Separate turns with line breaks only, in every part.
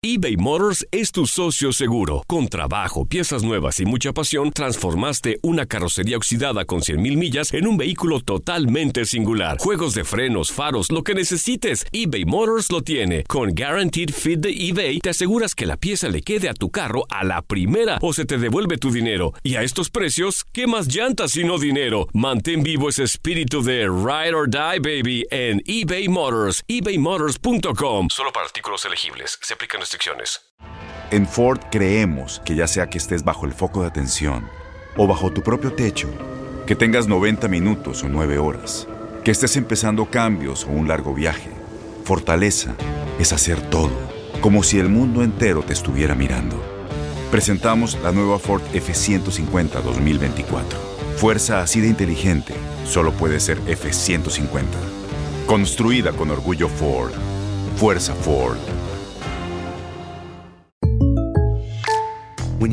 eBay Motors es tu socio seguro. Con trabajo, piezas nuevas y mucha pasión, transformaste una carrocería oxidada con 100.000 millas en un vehículo totalmente singular. Juegos de frenos, faros, lo que necesites, eBay Motors lo tiene. Con Guaranteed Fit de eBay, te aseguras que la pieza le quede a tu carro a la primera o se te devuelve tu dinero. Y a estos precios, ¿qué más llantas y no dinero? Mantén vivo ese espíritu de Ride or Die, baby, en eBay Motors. ebaymotors.com. Solo para artículos elegibles. Se aplican restricciones.
En Ford creemos que ya sea que estés bajo el foco de atención o bajo tu propio techo, que tengas 90 minutos o 9 horas, que estés empezando cambios o un largo viaje, fortaleza es hacer todo, como si el mundo entero te estuviera mirando. Presentamos la nueva Ford F150 2024. Fuerza así de inteligente, solo puede ser F150. Construida con orgullo Ford. Fuerza Ford.
When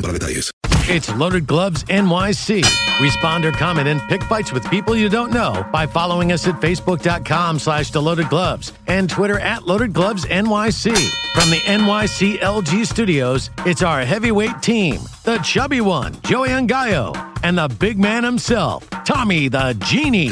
para detalles.
It's Loaded Gloves NYC. Responder, comment, and pick fights with people you don't know by following us at facebook.com slash the Loaded Gloves and Twitter at Loaded Gloves NYC. From the NYC LG studios, it's our heavyweight team, the chubby one, Joey Angayo, and the big man himself, Tommy the Genie.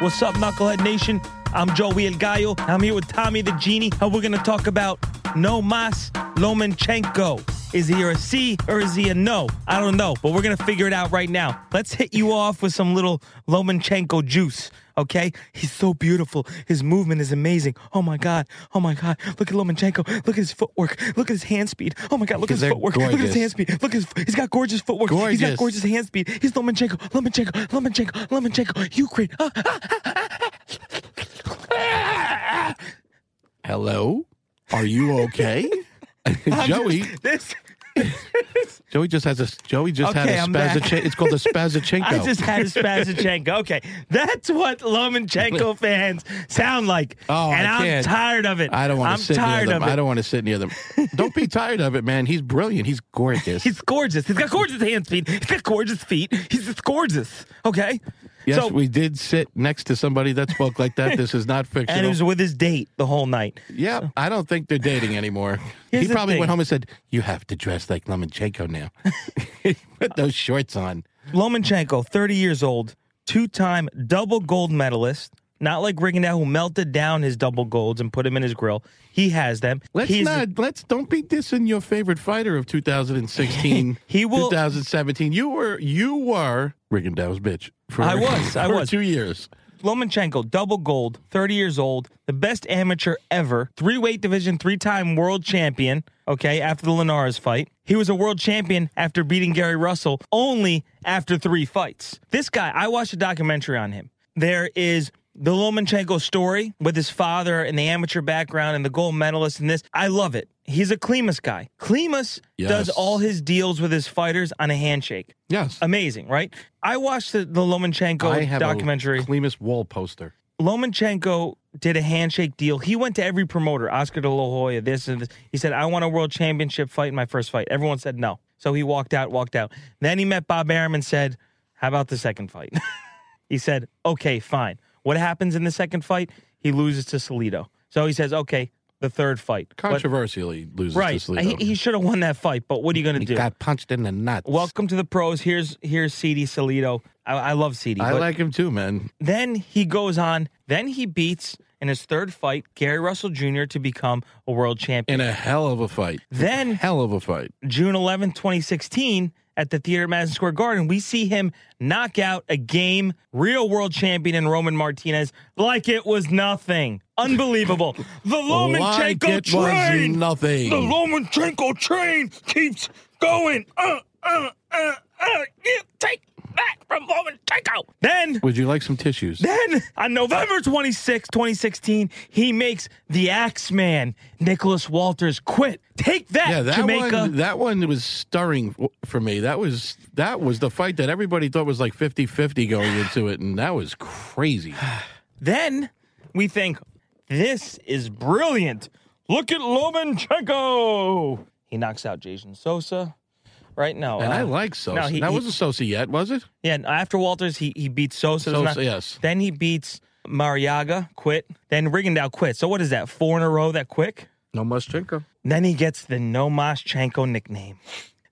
What's up, Knucklehead Nation? I'm Joey El Gallo. I'm here with Tommy the Genie, and we're going to talk about No Mas Lomachenko. Is he a C or is he a no? I don't know, but we're going to figure it out right now. Let's hit you off with some little Lomachenko juice, okay? He's so beautiful. His movement is amazing. Oh my God. Oh my God. Look at Lomachenko. Look at his footwork. Look at his hand speed. Oh my God. Look at
Because
his
they're
footwork. Look at his
gorgeous.
hand speed. Look at his, he's got gorgeous footwork. He's
Gorgeous.
got gorgeous hand speed. He's Lomachenko. Lomachenko. Lomachenko. Lomachenko. Ukraine. Ah, ah,
Hello? Are you okay? Joey,
This
Joey just has a Joey just
Okay,
had a
I'm back.
spazachenko. It's called a spazachenko.
I just had a Spazachenko. Okay, that's what Lomachenko fans sound like,
Oh,
and
I
am
can't.
tired of it.
I don't
I'm
want to sit near
tired
them.
of it.
I don't want to sit near them. Don't be tired of it, man. He's brilliant. He's gorgeous.
He's gorgeous. He's got gorgeous hand speed. He's got gorgeous feet. He's just gorgeous. Okay.
yes,
so,
we did sit next to somebody that spoke like that. This is not fictional.
and he was with his date the whole night.
Yeah, I don't think they're dating anymore.
Here's
he
the
probably
thing.
went home and said, "You have to dress like Lomachenko now. Put those shorts on."
Lomachenko, 30 years old, two-time double gold medalist. Not like Rigondeaux, who melted down his double golds and put him in his grill. He has them.
Let's
He's-
not. Let's don't be dissing your favorite fighter of 2016.
He will-
2017. You were. You were Rigondeaux's bitch. For,
I was, I
for
was.
Two years.
Lomachenko, double gold, 30 years old, the best amateur ever, three weight division, three time world champion, okay, after the Linares fight. He was a world champion after beating Gary Russell only after three fights. This guy, I watched a documentary on him. There is the Lomachenko story with his father and the amateur background and the gold medalist and this. I love it. He's a Klimas guy. Klimas
Yes.
does all his deals with his fighters on a handshake.
Yes.
Amazing, right? I watched the, the Lomachenko
I have
documentary.
A Klimas wall poster.
Lomachenko did a handshake deal. He went to every promoter, Oscar De La Hoya, this and this. He said, "I want a world championship fight in my first fight." Everyone said no, so he walked out. Walked out. Then he met Bob Arum and said, "How about the second fight?" he said, "Okay, fine." What happens in the second fight? He loses to Salido. So he says, "Okay, the third fight." But-
Controversially loses
right?
to Salido.
He, he should have won that fight, but what are you going to
He
do?
got punched in the nuts.
Welcome to the pros. Here's here's CD Salido. I, I love CD.
I
but-
like him too, man.
then he goes on. Then he beats, and in his third fight, Gary Russell Jr., to become a world champion.
In a hell of a fight.
Then-
hell of a fight.
June 11th, 2016, at the theater at Madison Square Garden, we see him knock out a game real world champion in Roman Martinez like it was nothing. Unbelievable. The
Like
Lomachenko
it was
train.
nothing.
The Lomachenko train keeps going. Uh, uh, uh, uh. You take that from Lomachenko. Then
Would you like some tissues?
then on November 26, 2016, he makes the Axeman, Nicholas Walters, quit. Take that,
yeah, that
Jamaica.
one. That one was stirring w- for me. That was that was the fight that everybody thought was like 50-50 going into it, and that was crazy.
Then we think, this is brilliant. Look at Lomachenko. He knocks out Jason Sosa. Right now, Uh,
And I like Sosa.
No, he-
that
he-
wasn't Sosa yet, was it?
yeah. and After Walters, he he beats Sosa. There's
Sosa, yes.
Then he beats Mariaga. Quit. Then Rigondeaux quit. So what is that? Four in a row. That quick.
No Muschenko.
Then he gets the No Nomaschenko nickname.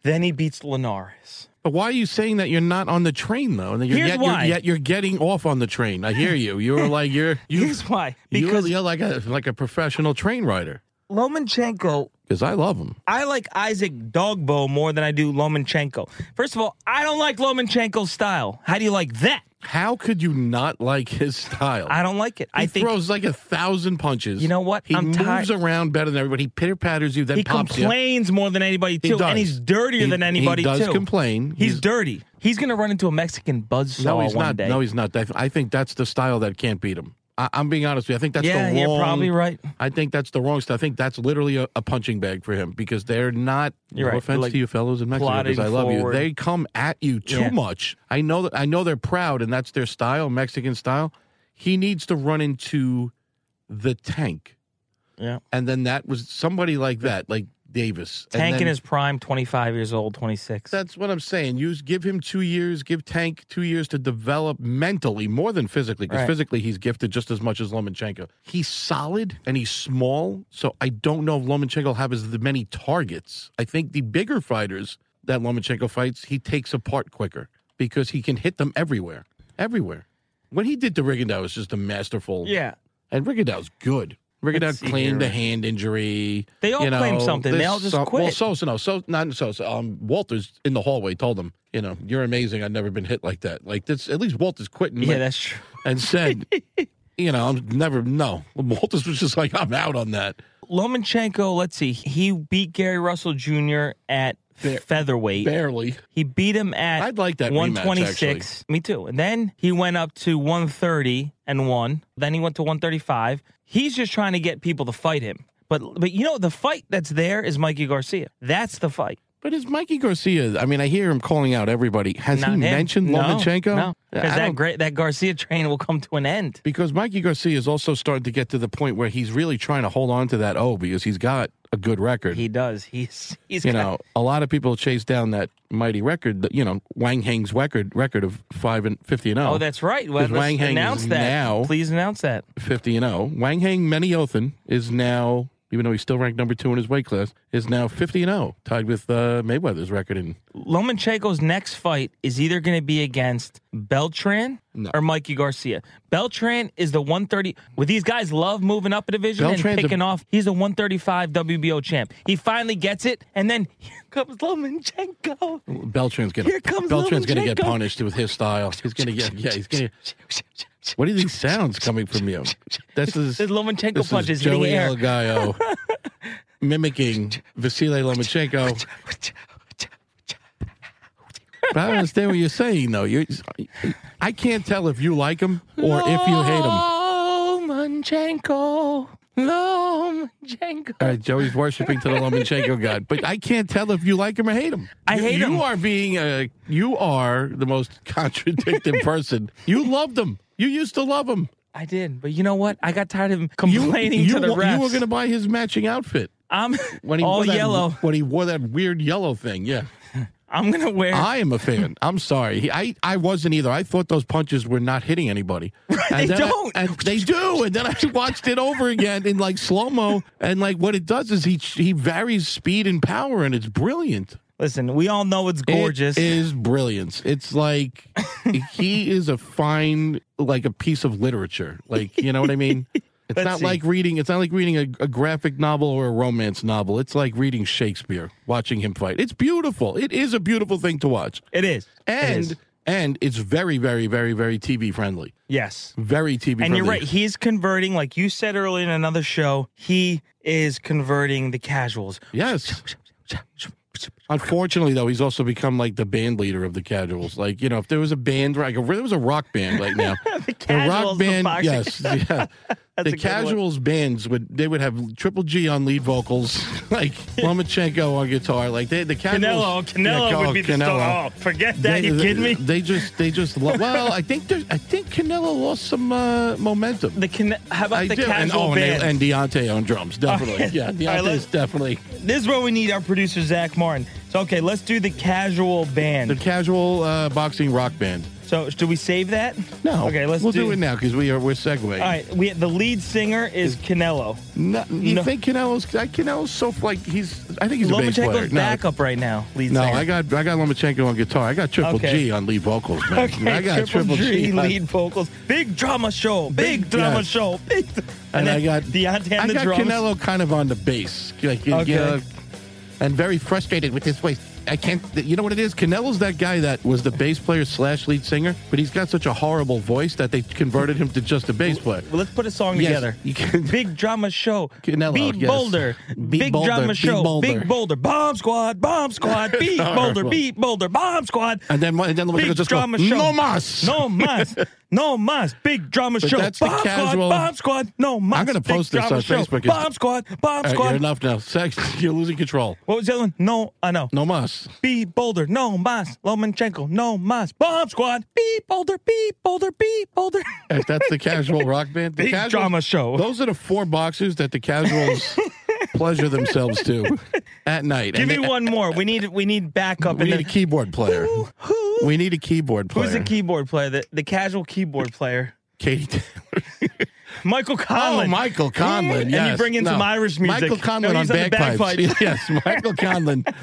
Then he beats Linares.
But why are you saying that you're not on the train though? And that you're,
Here's
yet,
why.
You're, yet you're getting off on the train. I hear you. You're like you're you.
Here's why.
Because
Because
you're, like a like a professional train rider.
Lomachenko
Because I love him.
I like Isaac Dogbo more than I do Lomachenko. First of all, I don't like Lomachenko's style. How do you like that?
How could you not like his style?
I don't like it.
He
I think
throws like a thousand punches.
You know what?
He
I'm
moves
tired.
around better than everybody. He pitter patters you, then
he
pops you.
complains more than anybody
He
too,
does.
and he's dirtier
He-
than anybody
he does
too.
complain.
He's,
He's-
dirty. He's gonna run into a Mexican buzzsaw
No, he's
one
not.
day.
No, he's not. That- I think that's the style that can't beat him. I, I'm being honest with you. I think that's
Yeah,
the
you're
wrong.
probably right.
I think that's the wrong. style. I think that's literally a, a punching bag for him because they're not.
You're
no
right.
offense
Like,
to you fellows in Mexico, because I
plodding
love
forward.
you. They come at you too
Yeah.
much. I know that. I know they're proud, and that's their style, Mexican style. He needs to run into the tank.
Yeah.
and then that was somebody like that, like Davis. And
Tank
then-
in his prime, 25 years old, 26.
That's what I'm saying. Use give him two years, give Tank two years to develop mentally more than physically, because
Right.
physically he's gifted just as much as Lomachenko. He's solid and he's small, so I don't know if Lomachenko will have as the many targets. I think the bigger fighters that Lomachenko fights, he takes apart quicker because he can hit them everywhere, everywhere. When he did to Rigondeaux, it was just a masterful.
yeah.
And Rigondeaux's good.
Let's
Rigondeaux
see
claimed
here.
a hand injury.
They all
you know,
claim something. They
this-
all just
some- Well,
quit.
Sosa, no, so not Sosa. Um, Walters in the hallway told him, you know, you're amazing. I've never been hit like that. Like this, at least Walters quit and,
Yeah,
went
that's true.
and said, you know, I'm never no. Walters was just like, I'm out on that.
Lomachenko, let's see. He beat Gary Russell Jr. at
Bare-
featherweight.
Barely.
He beat him at
I'd like that rematch,
126. Me too. And then he went up to 130 and won. Then he went to 135. He's just trying to get people to fight him. But but you know the fight that's there is Mikey Garcia. That's the fight.
But is Mikey Garcia? I mean, I hear him calling out everybody. Has
Not
he
him.
mentioned
no,
Lomachenko?
No, because
I
that
don't-
great that Garcia train will come to an end.
Because Mikey Garcia is also starting to get to the point where he's really trying to hold on to that O because he's got a good record.
He does. He's he's
you
got-
know, a lot of people chase down that mighty record, that, you know, Wang Hang's record record of 5 and 50 and 0.
Oh, that's right. Well,
Because
let's
Wang Hang
announce
is
that.
now-
Please announce that.
50 and 0. Wang Hang Manyothan is now even though he's still ranked number 2 in his weight class, is now 50 and 0, tied with uh, Mayweather's record in
Lomachenko's next fight is either going to be against Beltran or Mikey Garcia. Beltran is the 130. Well, these guys love moving up a division
Beltran's
and
a-
picking off. He's the 135 WBO champ. He finally gets it, and then here comes Lomachenko.
Beltran's going
Here comes
Beltran's going to get
Lomachenko.
punished with his style. He's going to get yeah, he's going to What are these sounds coming from you? This is
This Lomachenko
this
punch
is
is hitting
Joey
air.
Elgayo mimicking Vasily Lomachenko. But I don't understand what you're saying though. You, I can't tell if you like him or if you hate him. All
Lomachenko. Lomachenko.
right, Joey's worshiping to the Lomachenko god, but I can't tell if you like him or hate him.
I
you,
hate
you
him.
You are being a you are the most contradicting person. You loved him. You used to love him.
I did, but you know what? I got tired of him
You-
complaining
you,
to the
wa-
refs.
You were going to buy his matching outfit.
I'm
when he
all
wore that-
yellow.
when he wore that weird yellow thing. Yeah,
I'm gonna wear.
I am a fan. I'm sorry, He- I I wasn't either. I thought those punches were not hitting anybody.
they
and then I-
don't.
and they do. And then I watched it over again in like slow mo. And like what it does is he he varies speed and power, and it's brilliant.
Listen, we all know it's gorgeous.
It is brilliance. It's like he is a fine, like a piece of literature. Like you know what I mean. It's
Let's
not
see.
like reading. It's not like reading a, a graphic novel or a romance novel. It's like reading Shakespeare, watching him fight. It's beautiful. It is a beautiful thing to watch,
It is. It
and
is.
and it's very, very, very, very TV friendly.
yes.
Very TV.
And
friendly.
you're right. He's converting, like you said earlier in another show, he is converting the casuals.
Yes. Unfortunately, though, he's also become like the band leader of the Casuals. Like, you know, if there was a band, like if there was a rock band right now, the,
Casuals, the boxing-
yes, yeah,
a good
the
one.
Casuals bands would they would have Triple G on lead vocals, like Lomachenko on guitar, like they the
Canelo,
Casuals.
Canelo
Yeah,
would be the star. Oh, forget that.
They-
you
they-
kidding me?
They just they just lo- well, I think there's- I think Canelo lost some uh, momentum.
The can- how about
I
the
do, and,
casual
oh, and,
band?
they- and Deontay on drums, definitely. yeah,
yeah. All right,
Deontay is
let's-
definitely.
this is where we need our producer Zach Martin. So okay, let's do the casual band.
The casual uh, boxing rock band.
so do we save that?
No.
Okay, let's
we'll do, it now because we are we're segueing.
All right, we the lead singer is Canelo.
No, you
No.
think Canelo's that Canelo's so like he's I think he's a bass player.
Lomachenko's
No,
backup right now. Lead
No,
singer.
I got I got Lomachenko on guitar. I got Triple
Okay.
G on lead vocals, man.
Okay,
I got Triple, G, on-
lead vocals. Big drama show. Big,
Big-
drama
yes.
show. Big.
and, I
then
got
Deontay
I
on the
got
drums.
Canelo kind of on the bass, like, you
Okay.
know, and very frustrated with his voice. I can't. You know what it is? Canelo's that guy that was the bass player slash lead singer, but he's got such a horrible voice that they converted him to just a bass player.
Well, let's put a song
Yes,
together.
you can-
Big drama show.
Canelo,
Beat
yes.
Boulder.
Beat
big
Boulder,
drama
Beat
show.
Boulder.
Big Boulder. Bomb squad. Bomb squad. Beat Boulder.
Horrible.
Beat Boulder. Bomb squad.
And then and then
Big
Lomachenko just
drama
go,
show.
no mas.
No mas. No mas. Big drama
But
show.
that's the
bomb
casual-
squad. Bomb squad. No mas.
gonna
Big
post this
drama
on
show.
Facebook. It's-
Bomb squad. Bomb
All right,
squad.
you're enough now. Sex, you're losing control.
what was the other one? No, I know.
No mas.
Be Boulder, no mas. Lomachenko, no mas. Bomb Squad, be Boulder, be Boulder, be Boulder.
If that's the casual rock band, the
Big
casuals-
drama show.
Those are the four boxes that the casuals pleasure themselves to at night. And
Give me
they-
one more. We need we need backup.
We
and
need a
then-
keyboard player.
Who, who-
We need a keyboard player.
who's the keyboard player? The, the casual keyboard player.
Katie Taylor.
Michael Conlon.
Oh, Michael Conlon.
And
yes.
you bring in
No.
some Irish music.
Michael
No,
Conlon on
he's on the
bagpipes.
bagpipes.
yes, Michael Conlon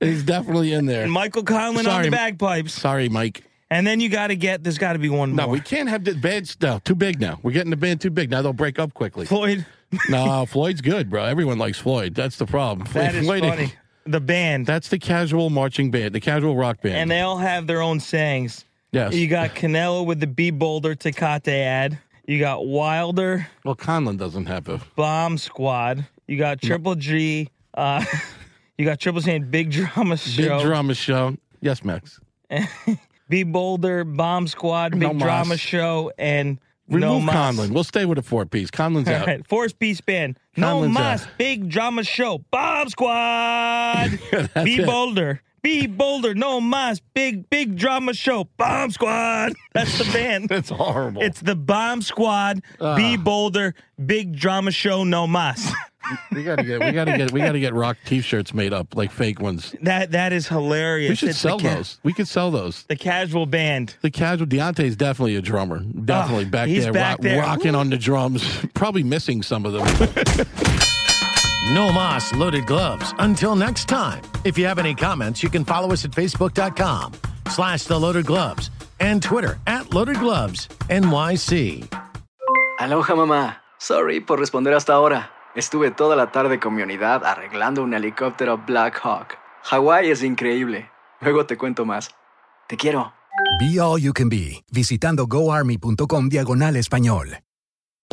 is definitely in there.
Michael Conlon on
Sorry.
the bagpipes.
Sorry, Mike.
And then you got to get, there's got to be one
No,
more.
we can't have the band's no, too big now. We're getting the band too big. Now they'll break up quickly.
Floyd,
no, Floyd's good, bro. Everyone likes Floyd. That's the problem.
that is
Floyd-
funny. The band.
That's the casual marching band, the casual rock band.
and they all have their own sayings.
Yes.
You got Canelo with the B Boulder Tecate ad. You got Wilder
well, Conlon doesn't have a.
Bomb Squad. You got Triple G. Uh, you got Triple G and Big Drama
Big
Show.
drama show. Yes, Max.
B Boulder Bomb Squad. Big
No mas.
Drama Show and
Remove
No Mas.
Conlon. We'll stay with a four piece. Conlon's
All
out.
right, Force Beast Band. No
Conlon's
Mas.
out.
Big Drama Show. Bomb Squad.
That's
B
it.
Boulder. B Boulder. No Mas. Big Big Drama Show. Bomb Squad. That's the band.
That's horrible.
It's the Bomb Squad, Be Boulder, Big Drama Show, No Mas.
we gotta get we gotta get we gotta get rock t shirts made up like fake ones.
that that is hilarious.
We should
It's
sell
the ca-
those. We could sell those.
The casual band.
The casual Deontay's definitely a drummer. Definitely back,
Ah, he's
there,
back
rock-
there.
rocking on the drums. Probably missing some of them.
No Moss Loaded Gloves. Until next time, if you have any comments, you can follow us at facebook.com slash the loaded gloves and Twitter at loaded gloves NYC.
Aloha mamá. Sorry por responder hasta ahora. Estuve toda la tarde con mi unidad arreglando un helicóptero Black Hawk. Hawái es increíble. Luego te cuento más. Te quiero.
Be All You Can Be, visitando goarmy.com diagonal español.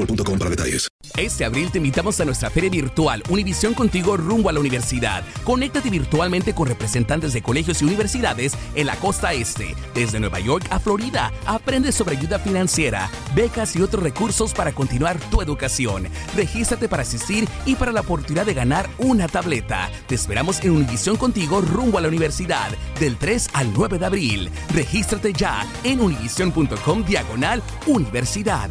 para detalles.
Este abril te invitamos a nuestra feria virtual Univisión Contigo rumbo a la universidad. Conéctate virtualmente con representantes de colegios y universidades en la costa este, desde Nueva York a Florida. Aprende sobre ayuda financiera, becas y otros recursos para continuar tu educación. Regístrate para asistir y para la oportunidad de ganar una tableta. Te esperamos en Univisión Contigo rumbo a la universidad del 3 al 9 de abril. Regístrate ya en univision.com diagonal universidad.